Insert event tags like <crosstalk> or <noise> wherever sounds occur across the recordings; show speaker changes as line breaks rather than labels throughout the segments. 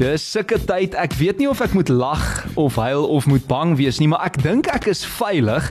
Dis sulke tyd. Ek weet nie of ek moet lag of huil of moet bang wees nie, maar ek dink ek is veilig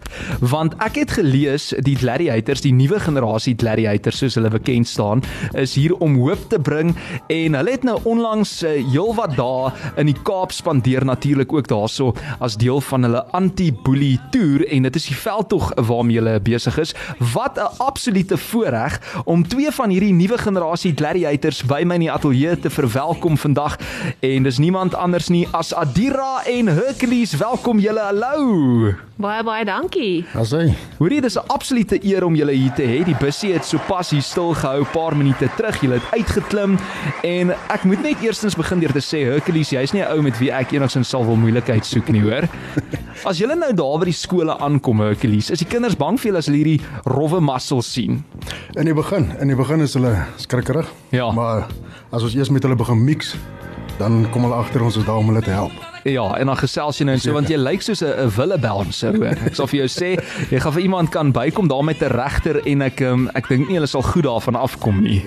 want ek het gelees die gladiators, die nuwe generasie gladiators soos hulle bekend staan, is hier om hoop te bring en hulle het nou onlangs eh, heelwat dae in die Kaap spandeer natuurlik ook daarso as deel van hulle anti-bully toer en dit is die veldtog waarmee hulle besig is. Wat 'n absolute voorreg om twee van hierdie nuwe generasie gladiators by my in die ateljee te verwelkom vandag en dis niemand anders nie as Adira en Hercules. Welkom julle. Hallo.
Baie baie dankie.
As hy.
Hoorie, dis 'n absolute eer om julle hier te hê. Die bussie het sopas hier stil gehou 'n paar minute terug. Julle het uitgeklim en ek moet net eerstens begin deur te sê Hercules, jy's nie 'n ou met wie ek enigsins sal wil moeilikheid soek nie, hoor. As julle nou daar by die skole aankom, Hercules, is die kinders bang vir julle as hulle hierdie rowwe muscles sien.
In die begin, in die begin is hulle skrikkerig.
Ja.
Maar as ons eers met hulle begin mix, dan kom hulle agter ons is daar om hulle te help.
Ja, en dan gesels jy nou en so want jy lyk soos 'n 'n wille bouncer hoor. Ek sal vir jou sê, jy gaan vir iemand kan bykom daar met 'n regter en ek um, ek dink nie hulle sal goed daarvan afkom nie.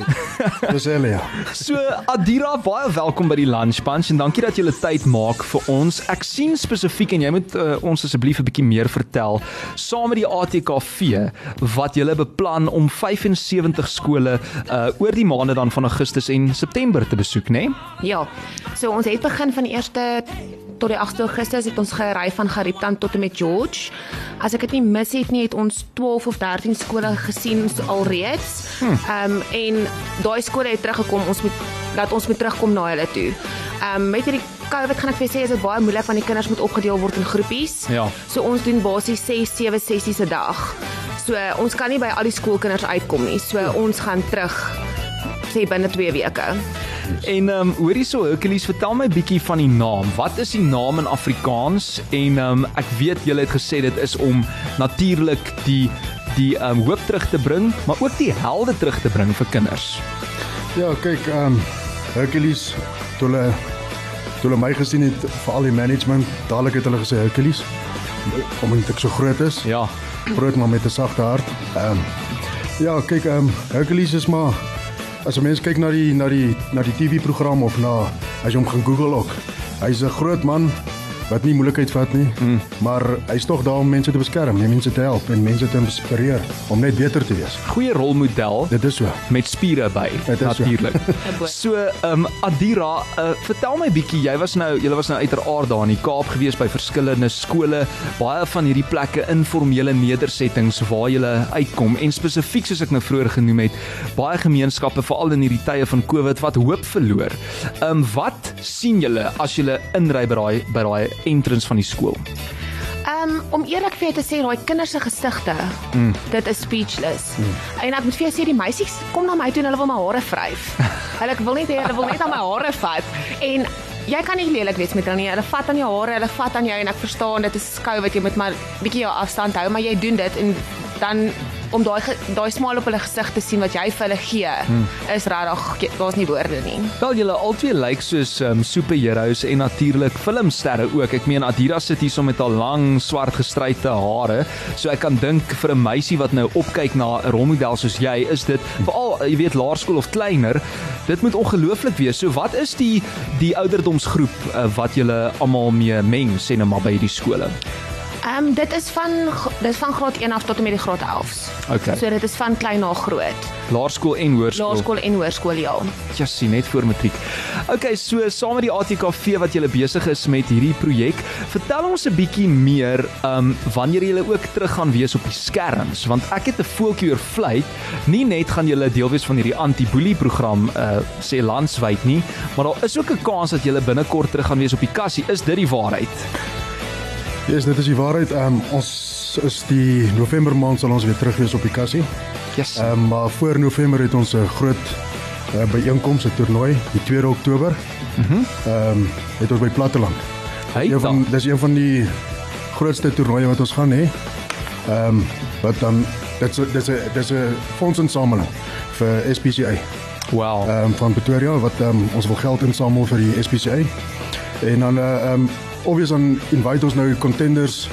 Dis hulle ja.
So Adira, baie welkom by die Lunch Punch en dankie dat jy julle tyd maak vir ons. Ek sien spesifiek en jy moet uh, ons asseblief 'n bietjie meer vertel saam met die ATKV wat julle beplan om 75 skole uh, oor die maande dan van Augustus en September te besoek, né? Nee?
Ja. So ons het begin van die 1ste tot die 8de Augustus het ons gery van Gariepton tot en met George. As ek dit nie mis het nie, het ons 12 of 13 skole gesien so alreeds. Ehm um, en daai skole het teruggekom. Ons moet dat ons moet terugkom na hulle toe. Ehm um, met hierdie COVID gaan ek vir jou sê is dit baie moeilik want die kinders moet opgedeel word in groepies.
Ja.
So ons doen basies 6 7 sessies 'n dag. So ons kan nie by al die skoolkinders uitkom nie. So ons gaan terug sê binne 2 weke.
En ehm um, hoor hierso Hercules, vertel my bietjie van die naam. Wat is die naam in Afrikaans? En ehm um, ek weet julle het gesê dit is om natuurlik die die ehm um, hoop terug te bring, maar ook die helde terug te bring vir kinders.
Ja, kyk, ehm um, Hercules toe hulle toe hulle my gesien het vir al die management, dadelik het hulle gesê Hercules omdat ek so groot is.
Ja.
groot maar met 'n sagte hart. Ehm um, ja, kyk ehm um, Hercules is maar as 'n mens kyk na die na die na die TV-program of na as jy hom gaan Google ook. Hy's 'n groot man wat nie moeilikheid vat nie, mm. maar hy's tog daar om mense te beskerm, om mense te help en mense te inspireer om net beter te wees.
Goeie rolmodel
Dit is so.
met spiere by
Dit is so. <laughs>
natuurlik.
bo-
So, ehm um, Adira, uh, vertel my bietjie, jy was nou jy was nou uiteraard daar in die Kaap gewees by verskillende skole, baie van hierdie plekke informele nedersettings waar jy uitkom en spesifiek soos ek nou vroeër genoem het, baie gemeenskappe veral in hierdie tye van COVID wat hoop verloor. Ehm um, wat sien julle as julle inry by daai by daai entrance van die skool?
Um, om eerlik vir jou te sê, daai kinders se gesigte, mm. dit is speechless. Mm. En ek moet vir jou sê die meisies kom na my toe en hulle wil my hare vryf. <laughs> hulle wil net hê hulle wil net aan my hare vat en jy kan nie lelik wees met hulle nie. Hulle vat aan jou hare, hulle vat aan jou en ek verstaan dit is skou wat jy moet maar bietjie jou afstand hou, maar jy doen dit en dan om daai ge- daai smaal op hulle gesig te sien wat jy vir hulle gee, mm. is regtig daar's nie woorde nie.
Wel julle albei lyk soos um, superheroes en natuurlik filmsterre ook. Ek meen Adira sit hierso met haar lang swart gestryde hare, so ek kan dink vir 'n meisie wat nou opkyk na 'n rolmodel soos jy, is dit veral jy weet laerskool of kleiner, dit moet ongelooflik wees. So wat is die die ouderdomsgroep uh, wat julle almal mee meng sê nou maar by hierdie skole?
Ehm um, dit is van gr- dit is van graad 1 af tot en met die graad 11s.
Okay.
So dit is van klein na groot.
Laerskool en hoërskool.
Laerskool en hoërskool ja.
Jessie, net voor matriek. Okay, so saam met die ATKV wat julle besig is met hierdie projek, vertel ons 'n bietjie meer um wanneer julle ook terug gaan wees op die skerms, want ek het 'n voeltjie oor vlei. Nie net gaan julle deel wees van hierdie anti-boelie program uh sê landwyd nie, maar daar is ook 'n kans dat julle binnekort terug gaan wees op die kassie. Is dit die waarheid?
Ja, yes, dit is die waarheid. Ehm um, ons is die November maand sal ons weer terug wees op die kassie.
Yes.
Ehm um, maar voor November het ons 'n groot uh, byeenkoms, 'n toernooi, die 2 Oktober. Mhm. ehm um, het ons by Platteland.
Hey,
Een van
dan.
dis een van die grootste toernooie wat ons gaan hê. Ehm um, wat dan dit's dit's 'n dit's 'n fondsinsameling vir SPCA
Wow.
ehm um, van Pretoria wat ehm um, ons wil geld insamel vir die SPCA. En dan eh, ehm uh, um, obvious dan invite ons nou contenders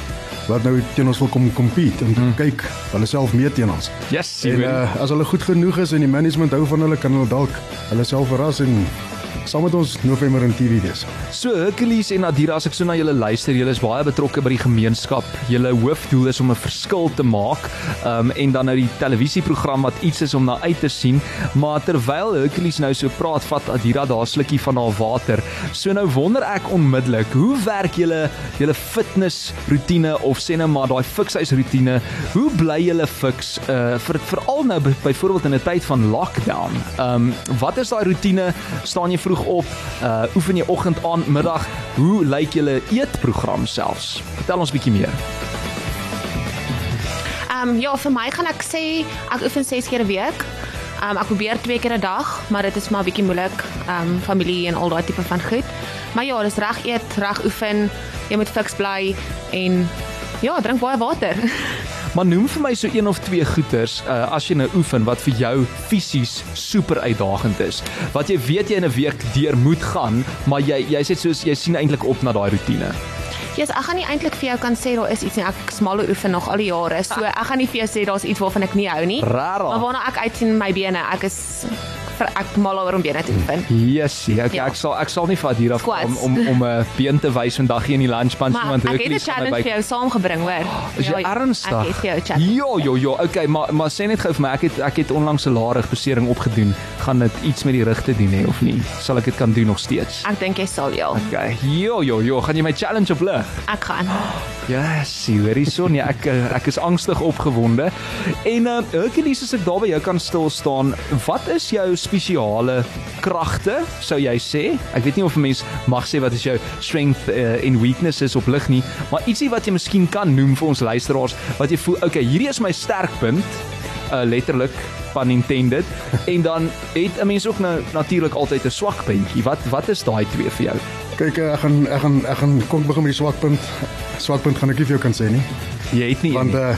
wat nou teen ons wil kom compete en mm. kyk hulle self mee teen ons.
Yes, jy
En eh,
weet.
uh, as hulle goed genoeg is en die management hou van hulle, kan hulle dalk hulle self verras en saam met ons November in TV wees.
So Hercules en Adira, as ek so na julle luister, julle is baie betrokke by die gemeenskap. Julle hoofdoel is om 'n verskil te maak. Um en dan nou die televisieprogram wat iets is om na uit te sien. Maar terwyl Hercules nou so praat, vat Adira daar 'n slukkie van haar water. So nou wonder ek onmiddellik, hoe werk julle julle fitness roetine of sê nou maar daai fikshuis roetine? Hoe bly julle fiks uh vir veral nou by- byvoorbeeld in 'n tyd van lockdown? Um wat is daai roetine? Staan jy vroeg op? Uh oefen jy oggend aan, middag? Hoe lyk julle eetprogram selfs? Vertel ons bietjie meer.
Ehm um, ja, vir my gaan ek sê ek oefen 6 keer 'n week. Ehm um, ek probeer 2 keer 'n dag, maar dit is maar bietjie moeilik. Ehm um, familie en al daai tipe van goed. Maar ja, dis reg eet, reg oefen, jy moet fiks bly en ja, drink baie water. <laughs>
Maar noem vir my so een of twee goeters uh as jy nou oefen wat vir jou fisies super uitdagend is. Wat jy weet jy in 'n week deur moet gaan, maar jy jy sê soos jy sien eintlik op na daai roetine.
Jesus, ek gaan nie eintlik vir jou kan sê daar is iets nie. Ek smalle oefen nog al die jare. So ek gaan nie vir jou sê daar's iets waarvan ek nie hou nie.
Rarig.
Maar waarna ek uitsien my bene, ek is vir- ek mal oor om bene te oefen.
Yesie, ek, ja.
Ja.
ek sal ek sal nie vat hier af
Squats.
om om om 'n been te wys vandag hier in die lunch punch nie,
Maar
<laughs> want
ek het 'n
Hercules gaan my
challenge vir
by.
jou saamgebring, hoor.
Is jy
Ja,
ernstig?
Ek het vir jou 'n challenge.
Ja, ja, ja. Okay, maar maar sê net gou vir my, ek het ek het onlangs 'n laarigbesering opgedoen. Gaan dit iets met die rug te doen hê of nie? Sal ek dit kan doen nog steeds?
Ek dink jy sal ja.
Okay. Ja, ja, ja. Gaan jy my challenge oplig?
Ek gaan.
Ja, sien, hoorie son, ja, ek eh, ek is angstig opgewonde. En uh, Hercules, as ek daar by jou kan stil staan, wat is jou spesiale kragte, sou jy sê? Ek weet nie of 'n mens mag sê wat is jou strength uh, en weaknesses op lig nie, maar ietsie wat jy miskien kan noem vir ons luisteraars wat jy voel, okay, hierdie is my sterkpunt, uh, letterlik van intended. En dan het 'n mens ook nou natuurlik altyd 'n swak puntjie. Wat wat is daai twee vir jou?
Kyk, eh, ek gaan ek gaan ek gaan kom begin met die swakpunt. Swakpunt gaan ek nie vir jou kan sê nie,
Jy het nie een
want
nie.
eh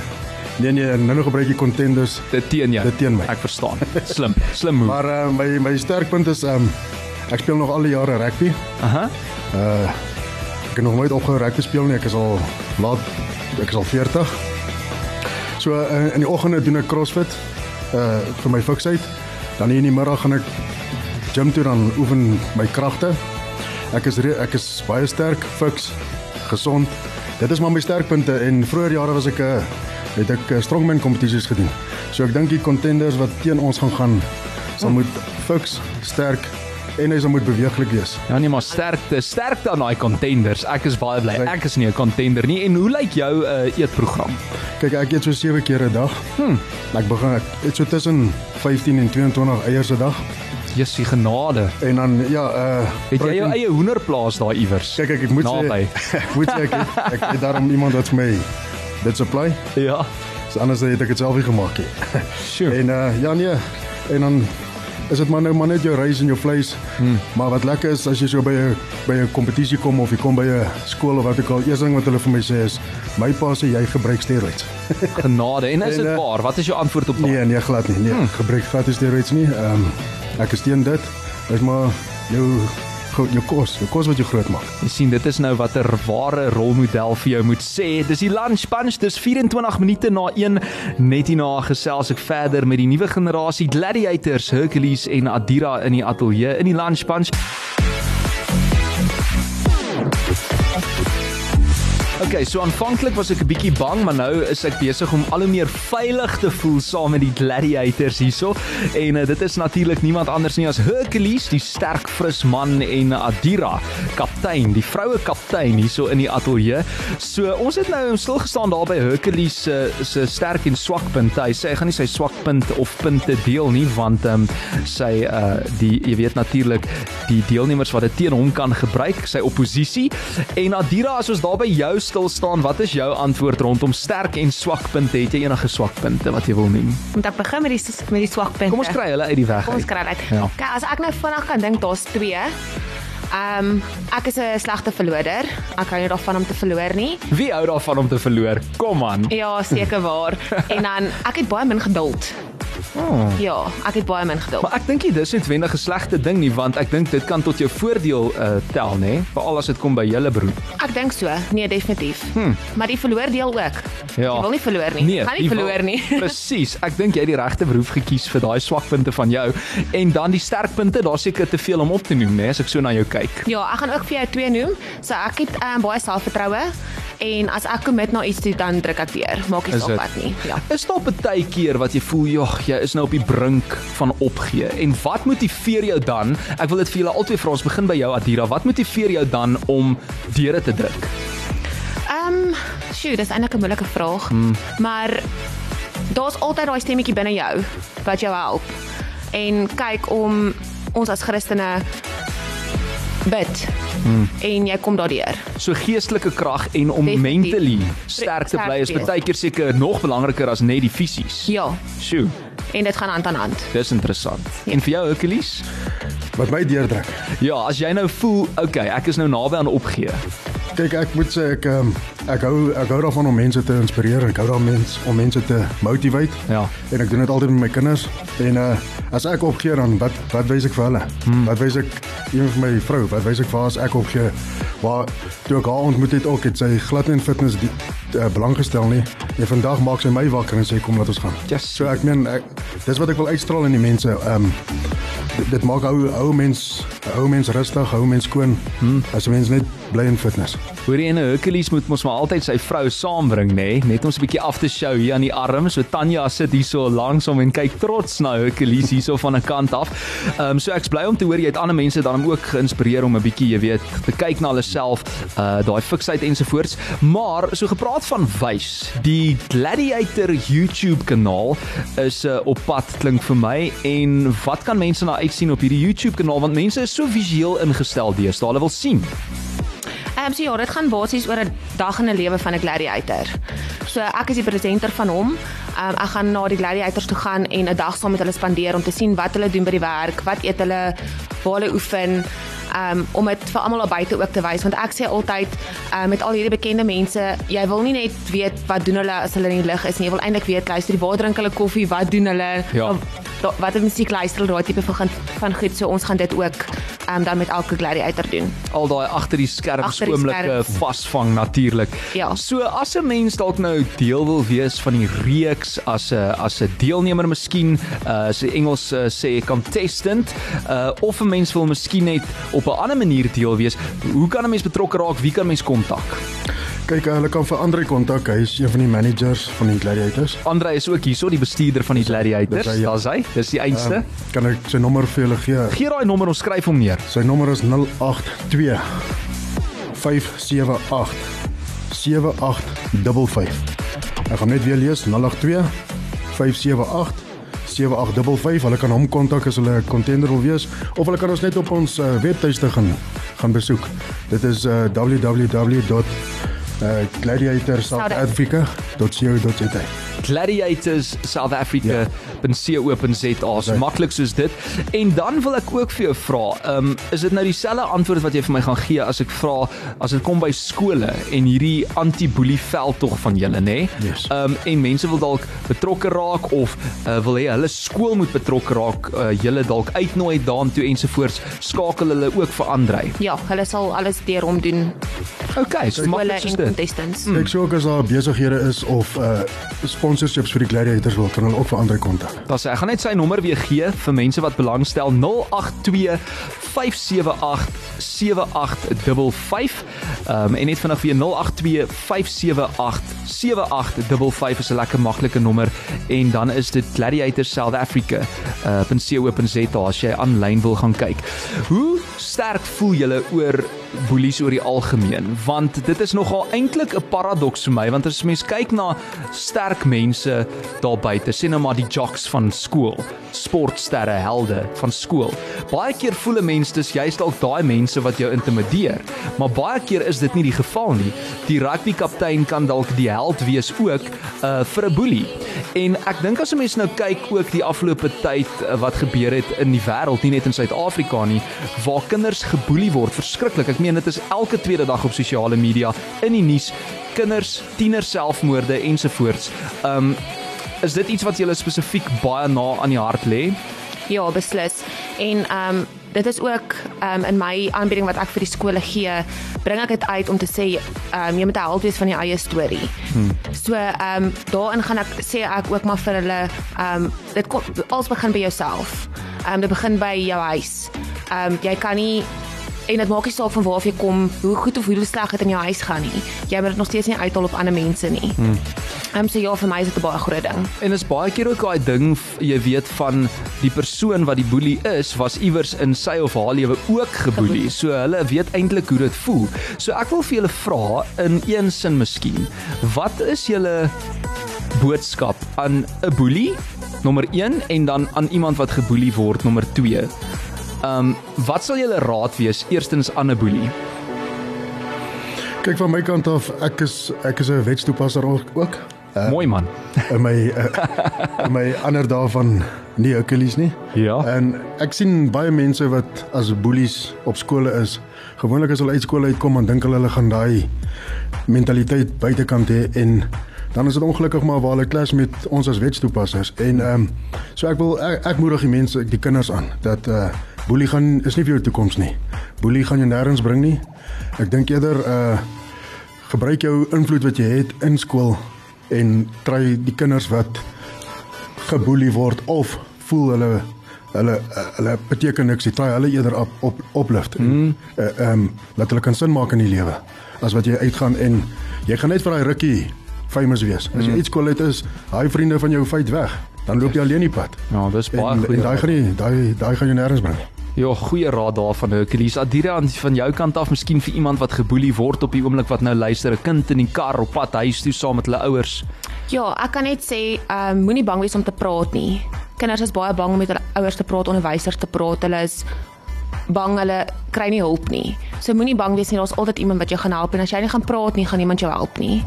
nee nee, nou nog gebruik jy contenders.
dit teen jou.
dit teen my.
Ek verstaan. Slim, slim move.
Maar uh, my my sterkpunt is ehm um, ek speel nog al die jare rugby.
Aha.
Ek het nog nooit opgehou rugby speel nie. Ek is al laat ek is al 40. So uh, in die oggende doen ek CrossFit uh vir my fiksheid. Dan hier in die middag gaan ek gym toe dan oefen my kragte. Ek is re- ek is baie sterk, fiks, gesond. Dit is maar my sterkpunte en vroeër jare was ek 'n het ek eh, strongman kompetisies gedoen. So ek dink die contenders wat teen ons gaan gaan sal moet fiks, sterk en hy sal moet beweeglik wees.
Ja nee, maar sterkte, sterkte aan daai contenders. Ek is baie bly. Ek is nie 'n contender nie. En hoe lyk jou uh, eetprogram?
Kyk, ek eet so 7 keer 'n dag.
Hmm.
Hm. Ek begin ek eet so tussen 15 en 22 eiers 'n dag
Jessie genade.
en dan ja, uh
Het jy jou
protein-
eie hoenderplaas daar iewers?
Kyk, ek, ek moet
Naby.
sê <laughs> ek moet sê ek het- ek het daarom iemand wat vir my dit supply.
Ja.
So anders het ek dit self nie
<laughs>
gemaak nie.
Sjoe.
En uh ja nee, en dan is dit maar nou maar net jou rys en jou vleis. Hmm. Maar wat lekker is as jy so by 'n by 'n kompetisie kom of jy kom by 'n skool of wat ook al, eers ding wat hulle vir my sê is my pa sê jy gebruik steroids.
Genade. En is
En,
dit
eh,
waar? Wat is jou antwoord op daai?
Nee, nee, glad nie. Nee, hmm. gebruik gratis steroids nie. Ehm um, ek is teen dit. Dis maar jou go- jou kos, jou kos wat jou groot maak.
Jy sien, dit is nou wat 'n ware rolmodel vir jou moet sê. Dis die lunch punch, dis 24 minute na 1 net hierna gesels ek verder met die nuwe generasie gladiators Hercules en Adira in die ateljee in die lunch punch. Okay, so aanvanklik was ek 'n bietjie bang, maar nou is ek besig om al hoe meer veilig te voel saam met die gladiators hierso. En uh, dit is natuurlik niemand anders nie as Hercules, die sterk fris man en Adira, kaptein, die vroue kaptein hierso in die ateljee. So ons het nou stil gestaan daar by Hercules se se sterk en swak punte. Hy sê hy gaan nie sy swak punt of punte deel nie want ehm um, sy uh die jy weet natuurlik die deelnemers wat dit teen hom kan gebruik, sy oppositie. En Adira, as ons daar by jou stil staan, wat is jou antwoord rondom sterk en swak punte? Het jy enige swak punte wat jy wil noem?
Moet ek begin met die s- met die swak punte?
Kom ons kry hulle uit die weg.
Ja. Kom ons
uit.
kry dit.
Ja.
Ja. Okay, as ek nou vinnig kan dink, daar's twee. Ehm um, ek is 'n slegte verloder. Ek hou nie daarvan om te verloor nie.
Wie hou daarvan om te verloor? Kom aan. <laughs>
Ja, seker waar. en dan ek het baie min geduld.
Oh.
Ja, ek het baie min geduld.
Maar ek dink nie dis noodwendig 'n slegte ding nie want ek dink dit kan tot jou voordeel uh, tel nê, veral as dit kom by julle broer.
Ek dink so. Nee, definitief. Hmm. Maar die verloor deel ook.
Ja.
Jy wil nie verloor nie. Gaan
die
nie verloor nie. <laughs>
Presies. Ek dink jy het die regte beroep gekies vir daai swakpunte van jou en dan die sterkpunte, daar seker te veel om op te noem, né, as ek so na jou kyk.
Ja, ek gaan ook vir jou twee noem. So ek het um, baie selfvertroue en as ek commit na iets toe dan druk ek weer. Maak nie
Is dit?
saak wat nie. Ja.
Is daar baie keer wat jy voel, "Jog, jy is nou op die brink van opgee." En wat motiveer jou dan? Ek wil dit vir julle albei vra. Ons begin by jou Adira. Wat motiveer jou dan om deure te druk?
Ehm, um, sjoe, dis eintlik 'n moeilike vraag. Hmm. Maar daar's altyd daai stemmetjie binne jou wat jou help. En kyk om ons as Christene bid. Hmm. En jy kom daardeur.
So geestelike krag en om
Definitief.
mentally sterk te
Sterk
bly is
wees.
baie keer seker nog belangriker as net die fisies.
Ja,
Sjoe,
en dit gaan hand aan hand.
dis interessant.
Ja.
En vir jou Hercules?
Wat my deurdruk.
Ja, as jy nou voel, okay, ek is nou naby aan opgee.
Kyk, ek moet sê ek ehm ek hou ek hou daarvan om mense te inspireer en ek hou daarvan mens, om mense te motivate.
Ja.
En ek doen dit altyd met my kinders en uh as ek opgee dan wat wat wys ek vir hulle? Hmm. Wat wys ek een van my vrou? Wat wys ek vir haar as ek opgee? Waar toe ek haar ontmoet het ook het sy glad nie in fitness die, uh, belang gestel nie. En vandag maak sy my wakker en sê kom laat ons gaan.
Yes.
So ek meen ek, dis wat ek wil uitstraal aan die mense. Ehm um, dit, dit maak ou ou mens ou mens rustig, hou mens skoon. Hmm. As 'n mens net bly in fitness.
Hoorie en Hercules moet mos maar altyd sy vrou saambring, nê? Nee? Net ons 'n bietjie af te show hier aan die arm. So Tanya sit hier so langs hom en kyk trots na Hercules hierso van 'n kant af. Ehm um, so ek's bly om te hoor jy het ander mense dan ook geïnspireer om 'n bietjie, jy weet, te kyk na hulle self, uh daai fiksheid ensovoorts. Maar so gepraat van wys, die Gladiator YouTube kanaal is uh, op pad klink vir my en wat kan mense na uitsien op hierdie YouTube kanaal want mense is so visueel ingestel deesdae. Hulle wil sien.
Ehm um, so ja, dit gaan basies oor 'n dag in 'n lewe van 'n gladiator. So ek is die presenter van hom. Ehm um, ek gaan na die gladiators toe gaan en 'n dag saam met hulle spandeer om te sien wat hulle doen by die werk, wat eet hulle, waar hulle oefen. Um, om dit vir almal daar buite ook te wys want ek sê altyd um, met al hierdie bekende mense jy wil nie net weet wat doen hulle as hulle in die lig is nie jy wil eintlik weet luister waar drink hulle koffie wat doen hulle
Ja.
da, watter musiek luister hulle daai tipe van gaan- van goed so ons gaan dit ook um, dan met elke gladiator doen
al daai agter die skerms
Agter die
oomblikke
skerms.
vasvang natuurlik.
Ja.
So as 'n mens dalk nou deel wil wees van die reeks as 'n as 'n deelnemer miskien, uh as die Engels uh, sê contestant, uh of 'n mens wil miskien net op 'n ander manier deel wees, hoe kan 'n mens betrokke raak? Wie kan mens kontak?
Kyk, eh, hulle kan vir Andre kontak. Hy is een van die managers van die Gladiators.
Andre is ook hierso, die bestuurder van die Gladiators.
Dis hy, ja.
Daar's hy. Dis die einste. Um,
Kan ek sy nommer vir julle gee?
Gee daai nommer, ons skryf hom neer.
Sy nommer is 082 578 7855. Ek gaan net weer lees 082 578 7855. Hulle kan hom kontak as hulle 'n contender wil wees of hulle kan ons net op ons uh, webtuiste gaan gaan besoek. Dit is uh, eh, www.gladiatorsouthafrica.co.za.
Gladiators South Africa .co.za is maklik soos dit. En dan wil ek ook vir jou vra, ehm um, is dit nou dieselfde antwoord wat jy vir my gaan gee as ek vra as dit kom by skole en hierdie anti-boelie veldtog van julle, nê?
Yes.
Ehm um, en mense wil dalk betrokke raak of uh, wil hê hulle skool moet betrokke raak, uh, julle dalk uitnooi daartoe ensovoorts. Skakel hulle ook vir Andrei.
Ja, hulle sal alles deur hom doen.
Okay, so
Hulle
maklik
en
soos dit.
contestants.
Ek sê ook as daar besighede is of uh sponsorships vir die Gladiators wil kan hulle ook vir Andre kontak.
Daar's ek gaan net sy nommer weer gee vir mense wat belangstel 082 578 7855 um, en net vinnig weer 082 578 7855 is 'n lekker maklike nommer en dan is dit Gladiator South Africa uh, .co.za as jy aanlyn wil gaan kyk. Hoe sterk voel julle oor boelies oor die algemeen want dit is nogal eintlik 'n paradoks vir my want as mens kyk na sterk mense daar buite sê nou maar die jocks van skool sportsterre helde van skool baie keer voel 'n mens dis juist dalk daai mense wat jou intimideer maar baie keer is dit nie die geval nie die rugby kaptein kan dalk die held wees ook uh, vir 'n boelie en ek dink as 'n mens nou kyk ook die afgelope tyd uh, wat gebeur het in die wêreld nie net in Suid-Afrika nie waar kinders geboelie word verskriklik ek meen dit is elke tweede dag op sosiale media in die nuus kinders, tieners selfmoorde ensovoorts. Um Is dit iets wat julle spesifiek baie na aan die hart lê?
Ja, beslis. En ehm um, dit is ook ehm um, in my aanbieding wat ek vir die skole gee, bring ek dit uit om te sê ehm um, jy moet 'n held wees van jou eie storie. Hmm. So ehm um, daarin gaan ek sê ek ook maar vir hulle ehm um, dit kom alles begin by jouself. Ehm um, dit begin by jou huis. Ehm um, jy kan nie en dit maak nie saak van waar af jy kom, hoe goed of hoe sleg dit in jou huis gaan nie. Jy moet dit nog steeds nie uithaal op ander mense nie. Ehm um, so ja, vir my is dit 'n baie groot ding.
En is baie keer ook daai ding, f- jy weet van die persoon wat die boelie is, was iewers in sy of haar lewe ook
<laughs>
geboelie. So hulle weet eintlik hoe dit voel. So ek wil vir julle vra in een sin miskien, wat is julle boodskap aan 'n boelie nommer 1 en dan aan iemand wat geboelie word nommer 2? Um wat sal julle raad wees eerstens aan 'n boelie?
Kyk van my kant af, ek is ek is 'n wetstoepasser ook. ook.
Uh, Mooi man.
In my eh, in my ander dae van nie Hercules nie.
Ja.
En ek sien baie mense wat as boelies op skole is. Gewoonlik as hulle uit skool uitkom, dan dink hulle hulle gaan daai mentaliteit buitekant hê en dan is dit ongelukkig maar waar hulle klas met ons as wetstoepassers. En ehm um, so ek wil ek, ek moedig die mense, die kinders aan dat eh uh, boelie gaan is nie vir jou toekoms nie. Boelie gaan jou nêrens bring nie. Ek dink eerder eh uh, gebruik jou invloed wat jy het in skool en try die kinders wat geboelie word of voel hulle hulle hulle beteken niks, jy try hulle eerder op, op oplift. Ehm
Hmm.
mm. uh, um, laat hulle kan sin maak in die lewe as wat jy uitgaan en jy gaan net vir daai rukkie famous wees. As
Hmm.
jy mm. uit skool uit is, daai vriende van jou vyt weg, dan loop jy alleen die pad.
Ja, dis baie
En,
goed.
en daai gaan nie daai daai gaan jou nêrens bring.
Ja, goeie raad daarvan Hercules. Adira aan van jou kant af, miskien vir iemand wat geboelie word op die oomblik wat nou luister, 'n kind in die kar op pad huis toe saam met hulle ouers.
Ja, ek kan net sê, ehm um, moenie bang wees om te praat nie. Kinders is baie bang om met hulle ouers te praat, onderwysers te praat. Hulle is bang hulle kry nie hulp nie. So moenie bang wees nie, daar's altyd iemand wat jou gaan help en as jy nie gaan praat nie, gaan niemand jou help nie.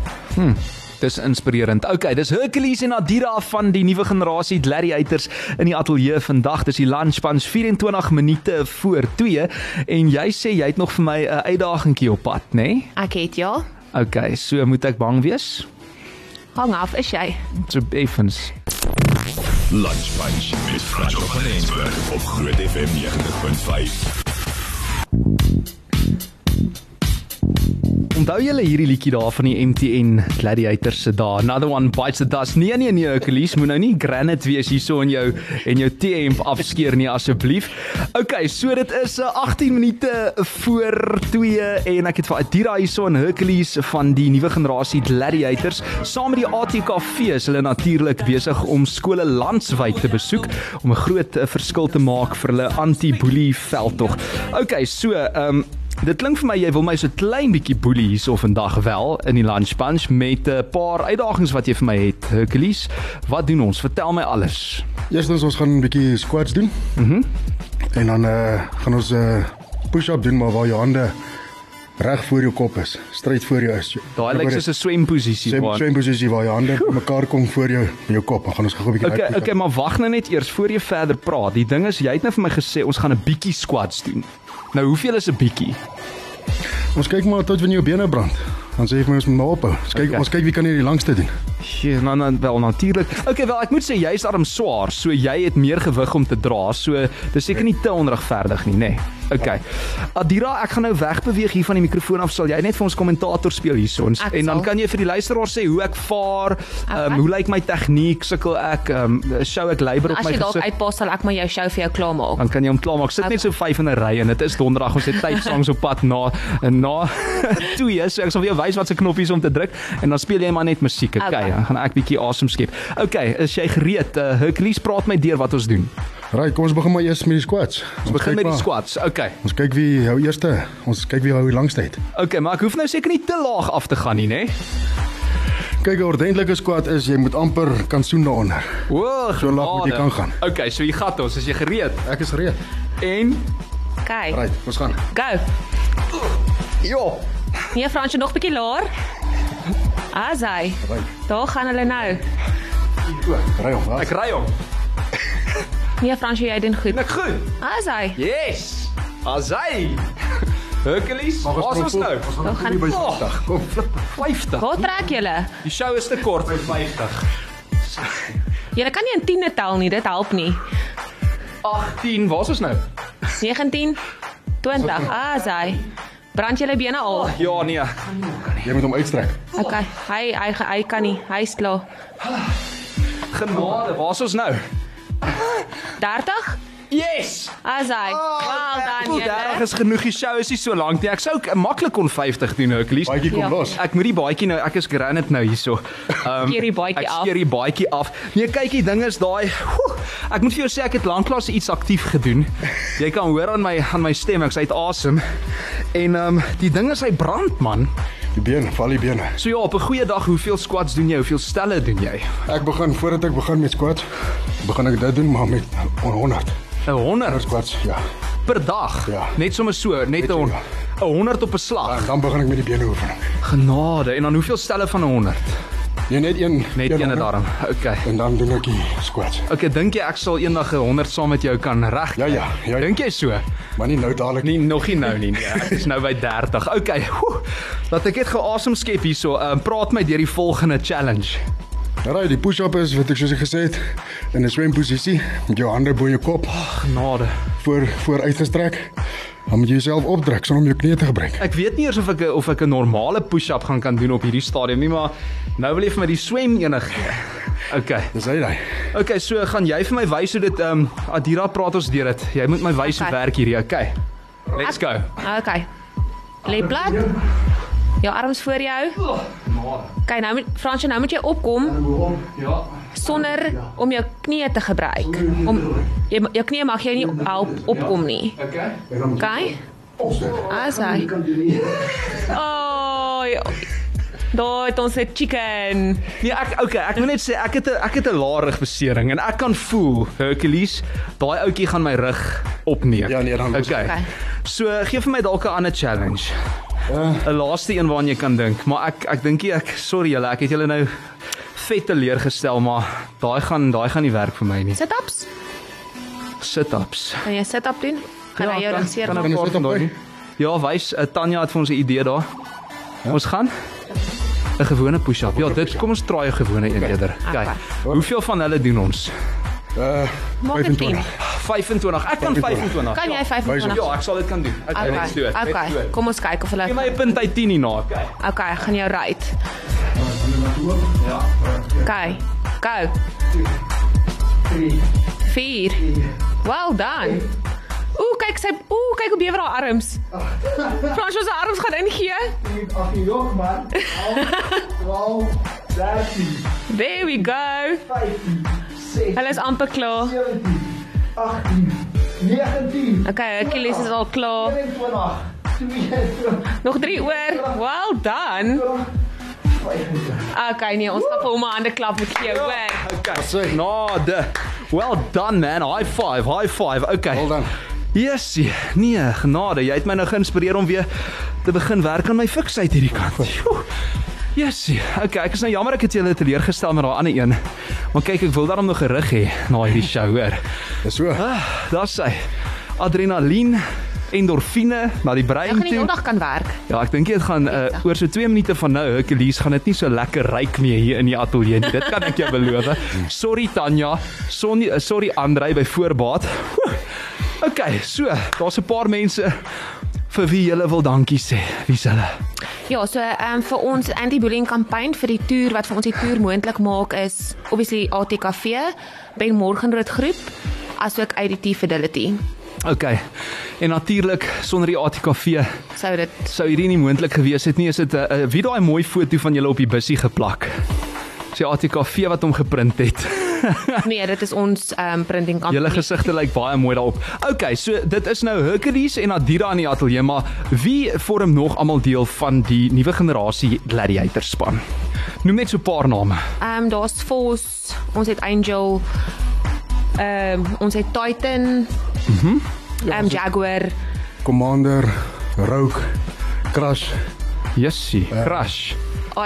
Dis inspirerend. Okay, dis Hercules en Adira van die nuwe generasie Gladiators in die ateljee vandag. Dis die lunch punch 24 minute voor 2 en jy sê jy het nog vir my 'n uitdagingkie op pad, nê? Nee?
Ek het ja.
Okay, so moet ek bang wees?
Hang af, is jy?
So effens.
Lunch Punch met Frans van Eensberg op Groot FM 90.5.
Onthou julle hierdie liedjie daar van die MTN Gladiators se dae. Another one bites the dust. Nee nee nee, Hercules, moet nou nie granite wees hierso in jou en jou T-hemp afskeer nie asseblief. Okay, so dit is eh, 18 minute voor 2 en ek het vir Adira hierso en Hercules van die nuwe generasie Gladiators saam met die ATKV is hulle natuurlik besig om skole landwyd te besoek om 'n groot eh, verskil te maak vir hulle anti-boelie veldtog. Okay, so ehm um, Dit klink vir my jy wil my so klein bietjie boelie hierso vandag wel in die lunch punch met 'n paar uitdagings wat jy vir my het. Hercules, wat doen ons? Vertel my alles.
Eerstens ons gaan 'n bietjie squats doen. Mhm. Mm en dan eh uh, gaan ons 'n uh, push-up doen maar waar jou hande reg voor jou kop is, stryd voor jou is.
Daai lyk soos 'n swemposisie
swem
man.
swem posisie waar jou hande
<laughs>
mekaar kom voor jou en jou kop. Dan gaan ons gou 'n bietjie
Okay,
uitkyk.
okay, maar wag nou net eers voor jy verder praat. Die ding is jy het nou vir my gesê ons gaan 'n bietjie squats doen. Nou hoeveel is 'n bietjie?
Ons kyk maar tot wanneer jou bene brand. Dan sê ek my ons moet maar ophou. Ons kyk
Okay.
okay. ons kyk wie kan hier die langste doen.
Ja, nou nou wel natuurlik. Okay, wel ek moet sê jy's arm swaar, so jy het meer gewig om te dra, so dis seker nie te onregverdig nie, nê. Nee. Okay. Adira, ek gaan nou wegbeweeg hier van die mikrofoon af. Sal jy net vir ons kommentator speel hiersons
Ek
en dan
sal.
kan jy vir die luisteraar sê hoe ek vaar, um, hoe lyk my tegniek, sukkel ek, um, show ek labour op
As
my
jy dalk
gesig.
uitpas sal ek maar jou show vir jou klaarmaak.
Dan kan jy hom klaarmaak. Sit net so 5 in 'n ry en dit is donderdag. Ons het tyd songs op pad na en na <laughs> 2, so ek sal vir jou wys wat se knoppies om te druk en dan speel jy maar net musiek. Okay,
Okay.
dan gaan ek bietjie asem skep. Okay, is jy gereed? Uh, Hercules praat my deur wat ons doen.
Right, kom ons begin maar eers met die squats. Ons
Begin
kyk
met die
maar-
squats. Okay.
Ons kyk wie hou eerste. Ons kyk wie hou die langste uit.
Okay, maar ek hoef nou seker nie te laag af te gaan nie, né?
Kyk, 'n ordentlike squat is jy moet amper kan soen daaronder.
O,
So laag moet jy
genade.
kan gaan.
Okay, so hier gaan ons. Is jy gereed?
Ek is gereed.
En
Okay.
Right, ons gaan.
Go.
ja.
Nee, Fransje nog 'n bietjie laer. Asai.
Right.
Daar gaan hulle nou.
O, ry hom.
Ek ry hom.
Nee, Fransje, jy doen goed.
Net goed.
Asai.
Yes. Asai. <laughs> Hercules, ons ons nou.
Daar gaan
by
Oh.
50. Kom.
50.
Waar trek julle?
Die show is te kort vir 50.
Jy kan nie in 10 tel nie, dit help nie.
18, waar's ons nou?
19 20. Ah, sy. Brand julle bene al.
Ja, nee.
Ja, Jy moet hom uitstrek.
Okay. Hy hy hy kan nie. Hy's klaar.
Genade, waar's ons nou?
30.
Yes.
Ah, sy. Wel dan
Daar
julle.
is genoeg die show is nie so lank nie. Ek sou ook maklik kon 50 doen, Hercules.
Baadjie kom
Ja.
los.
Ek moet die baadjie nou, ek is granit nou hierso. Ehm
Skeer die baadjie
ek
af.
skeer die baadjie af. Nee, kyk, die ding is daai. Hoe, ek moet vir jou sê ek het lanklaas iets aktief gedoen. Jy kan hoor aan my aan my stem, ek's uit asem. En ehm um, die ding is hy brand man.
Die been, val die bene.
So ja, op 'n goeie dag, hoeveel squats doen jy? Hoeveel stelle doen jy?
Ek begin voordat ek begin met squat, begin ek dit doen maar met 100.
'n 100
100 squats, ja.
per dag.
Ja.
Net sommer so, net 'n hon-
ja.
'n 100 op 'n slag.
En dan begin ek met die bene oefening.
Genade. En dan hoeveel stelle van 'n 100?
Jy net een
Net
een
een
honderd,
daarom. Okay.
En dan doen ek die squats.
Okay, dink jy ek sal eendag 'n 100 saam met jou kan reg?
Ja ja, ja.
Dink jy so?
Maar nie nou dadelik nie.
Nee, nog nie nou nie. <laughs> Nee, ek is nou by 30. Okay. Woe, laat ek net geasem skep hierso. Ehm um, praat my deur die volgende challenge.
Nou, Raai, die push-up is wat ek soos ek gesê het in 'n swemposisie met jou hande bo jou kop
Genade.
voor voor uitgestrek. Dan moet jy jouself opdruk sonder om jou knie te gebruik.
Ek weet nie eers of ek 'n- of ek 'n normale push-up gaan kan doen op hierdie stadium nie, maar nou wil jy vir my die swem enig gee. Okay.
Dis hy daai.
Okay, so gaan jy vir my wys hoe dit ehm um, Adira praat ons deur dit. Jy moet my wys hoe
Okay.
werk hierdie. Okay. Let's go.
Okay. Lê plat. Jou arms voor jou. Kyk, nou moet Fransje, nou moet jy opkom
Ja.
sonder om jou knieë te gebruik. Om jy, jou knieë mag jou nie help opkom nie. Ah,
Okay.
Okay? Asai. Ooi. Daai het ons 'n chicken.
Nee, ek okay, ek moet net sê ek het 'n ek het 'n lae rugbesering en ek kan voel Hercules, daai ouetjie gaan my rug opneem.
Ja, nee, dan-
Okay.
Okay.
So gee vir my dalk 'n ander challenge.
Eh.
'n Laaste een waaraan jy kan dink, maar ek ek dink nie ek sorry julle, ek het julle nou vet teleurgestel, maar daai gaan daai gaan nie werk vir my nie.
Sit-ups.
Sit-ups.
Kan jy sit-up doen? Gaan
Ja,
hy jou
kan-
lanceer?
kan
Kan
Apart
ons dit
van daai
op?
nie. Ja, wys uh, Tanya het vir ons 'n idee daar. Ja? Ons gaan 'n gewone push-up. Ja, dit kom ons probeer 'n gewone een eerder. Kyk.
Okay.
Hoeveel van hulle doen ons?
Uh
Maak dit
25.
25. Ek kan 25.
Kan jy
Ja,
25?
ek sal dit kan doen. Okay, let's do
Okay.
it. Let's do
Okay.
it.
Kom ons kyk of hulle
Gee my 'n punt uit 10 hierna. Okay.
Okay, ek gaan jou ry. Ja. Okay. Go. 3 4 Well done. Ooh, kyk sy ooh, kyk hoe bewe haar arms. Frans, ons arms gaan ingee.
Ach, jok man. 12, 13,
There we go.
15, 16,
Hulle is amper klaar.
17, 18, 19,
Okay, Achilles is al klaar.
21, 22,
Nog 3 oor. Well done.
25.
Okay, nee, ons gaan vir hom 'n hande klap gee,
Ja.
hoor.
Okay. Genade. Well done man. High five. High five. Okay.
Wel dan.
Yesie. Nee, genade. Jy het my nou geïnspireer om weer te begin werk aan my fiksheid hierdie kant. Joe. Yesie. Okay, ek is nou jammer ek het julle teleurgestel met daai ander een. Maar kyk, ek wil daarom nog 'n rug hê na hierdie show hoor.
Dis so.
Ah, daar's hy. Adrenalien, endorfine na die brein
Ek gaan nie
toe.
eendag kan werk.
Ja, ek dink dit gaan uh, oor so 2 minute van nou, Hercules gaan dit nie so lekker ryk meer hier in die ateljee nie. Dit kan ek jou beloof. Sorry Tanya, sorry uh, sorry Andrei by voorbaat. Woe. Okay, so, daar's 'n paar mense vir wie jy wil dankie sê. Wie's hulle?
Ja, so ehm um, vir ons anti-bullying kampanje vir die toer wat vir ons die toer moontlik maak is obviously ATKV, Ben Morgenrood groep, asook ADT Fidelity.
Okay. En natuurlik sonder die ATKV
Sou dit
sou hierdie nie moontlik gewees het nie. Is dit 'n uh, wie daai mooi foto van julle op die bussie geplak? Dis die ATKV wat hom geprint het.
nee, dit is ons ehm um, printing
Julle
kampanje.
gesigte lyk baie mooi daarop. Okay, so dit is nou Hercules en Adira in die ateljee, maar wie vorm nog almal deel van die nuwe generasie gladiator span? Noem net so 'n paar name.
Ehm um, daar's Force, ons het Angel, ehm um, ons het Titan. Mhm. Mm
Ja,
ehm um, Jaguar.
Commander Rogue Crash
Jessie, Crash.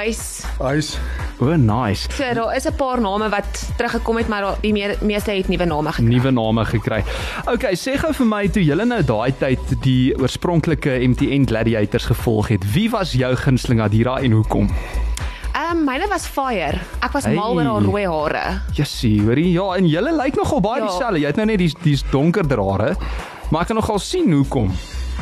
Ice.
Ice.
O, oh, nice.
So daar is 'n paar name wat teruggekom het, maar daar- die meer, meeste het nuwe name gekry.
Nuwe name gekry. Okay, sê gou vir my toe julle nou daai tyd die oorspronklike MTN Gladiators gevolg het. Wie was jou gunsteling Adira en hoekom?
Ehm Ehm um, myne was fire. Ek was hey. mal oor haar
Hey.
rooi hare.
Jessie, hoorie. Ja, en julle lyk nogal baie
Ja.
dieselfde. Jy het nou net die die donkerder hare, maar ek kan nogal sien hoe kom.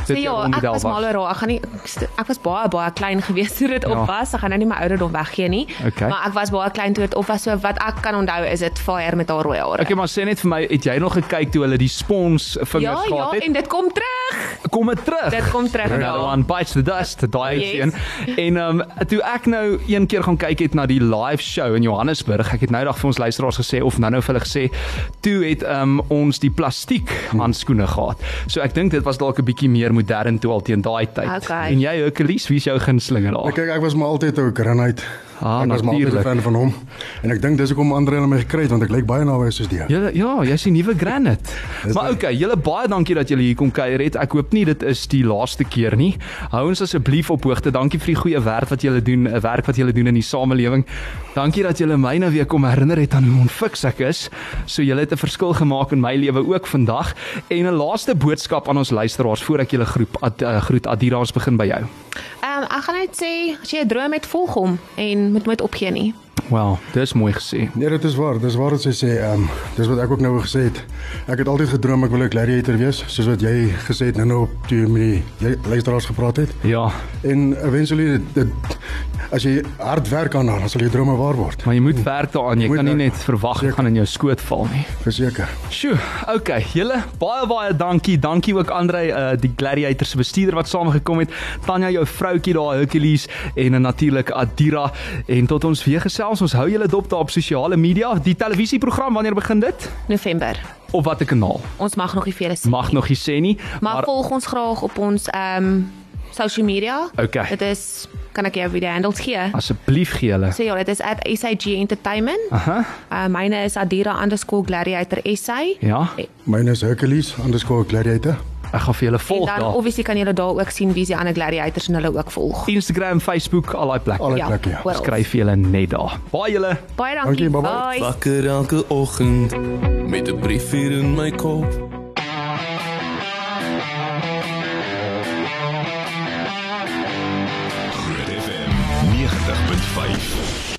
So ja,
jou
ek
onderdeel
was mal oor haar. Ek gaan nie ek, st- ek was baie baie klein gewees toe dit ja.
Ja.
op was. Ek gaan nou nie my ouderdom weggee nie.
Okay.
Maar ek was baie klein toe dit op was. So wat ek kan onthou is dit fire met haar rooi hare.
Okay, maar sê net vir my, het jy nog gekyk toe hulle die spons
ja,
vingers
ja,
gehad het?
en dit kom terug.
kom dit terug.
Dit kom terug,
Another
ja.
one bites the dust, daai
Yes.
yes. een. En ehm um, toe ek nou een keer gaan kyk het na die live show in Johannesburg, ek het nou dag vir ons luisteraars gesê of nou nou vir hulle gesê, toe het ehm um, ons die plastiek handskoene gehad. So ek dink dit was dalk 'n bietjie meer modern toe al teen daai tyd.
Okay.
En jy Hercules, wie is jou gunsteling
Ek
daar?
kyk ek was maar altyd 'n grinheid.
Ah,
ek was maar altyd 'n
natuurlijk.
fan van hom. En ek dink dis hoekom ander hulle my gekry het want ek lyk baie naby soos die.
Julle ja, jy's die nuwe Granite.
Dis
maar
reg.
okay, julle baie dankie dat julle hier kom kuier het. Ek hoop nie dit is die laaste keer nie. Hou ons asseblief op hoogte. Dankie vir die goeie werk wat julle doen, 'n werk wat julle doen in die samelewing. Dankie dat julle my nou weer kom herinner het aan hoe onfiks ek is. So julle het 'n verskil gemaak in my lewe ook vandag. En 'n laaste boodskap aan ons luisteraars voor ek julle groep ad, uh, groet Adira ons begin by jou.
Ehm um, ek gaan net sê as jy 'n droom het, volg hom en moet nooit opgee nie.
Wel, dis mooi gesê.
Nee, dit is waar. Dis waar wat sy sê. Ehm um, dis wat ek ook nou gesê het. Ek het altyd gedroom ek wil 'n gladiator wees, soos wat jy gesê het nou-nou op toe jy met die jy- luisteraars gepraat het.
Ja,
En eventually dit, dit as jy hard werk aan haar, dan sal jou drome waar word.
maar jy moet werk daaraan. Jy
Moet
kan nie
werk.
net verwag dit gaan in jou skoot val nie.
Verseker.
Sjoe, okay, julle baie baie dankie. Dankie ook Andrei, uh, die Gladiator se bestuurder wat saamgekom het. Tanya jou vroutjie daar Hercules en uh, natuurlik Adira en tot ons weer gesels. Ons hou julle dop daar op sosiale media. Die televisieprogram wanneer begin dit?
November.
Op watter kanaal?
Ons mag nog nie vir julle sê.
Mag nog nie sê nie,
Maar, maar volg ons graag op ons ehm um, social media.
Okay.
Dit is kan ek jou weer handles
Ah.
gee?
asseblief gee julle.
So ja, dit is @SAG Entertainment.
Aha.
Uh, myne is adira_gladiator_sa.
Ja,
Myne is Hercules underscore gladiator.
ek gaan vir julle
En
volg
dan
Oh, daar.
obviously kan julle daar ook sien wie se ander gladiators en hulle ook volg.
Instagram, Facebook, al daai plekke.
Al die plekke. Ja.
oral.
Skryf julle net daar. Baie julle.
Baie dankie.
Dankie, bye bye.
Bye.
Wakker elke oggend met 'n brief hier in my kop.
Groot FM 90.5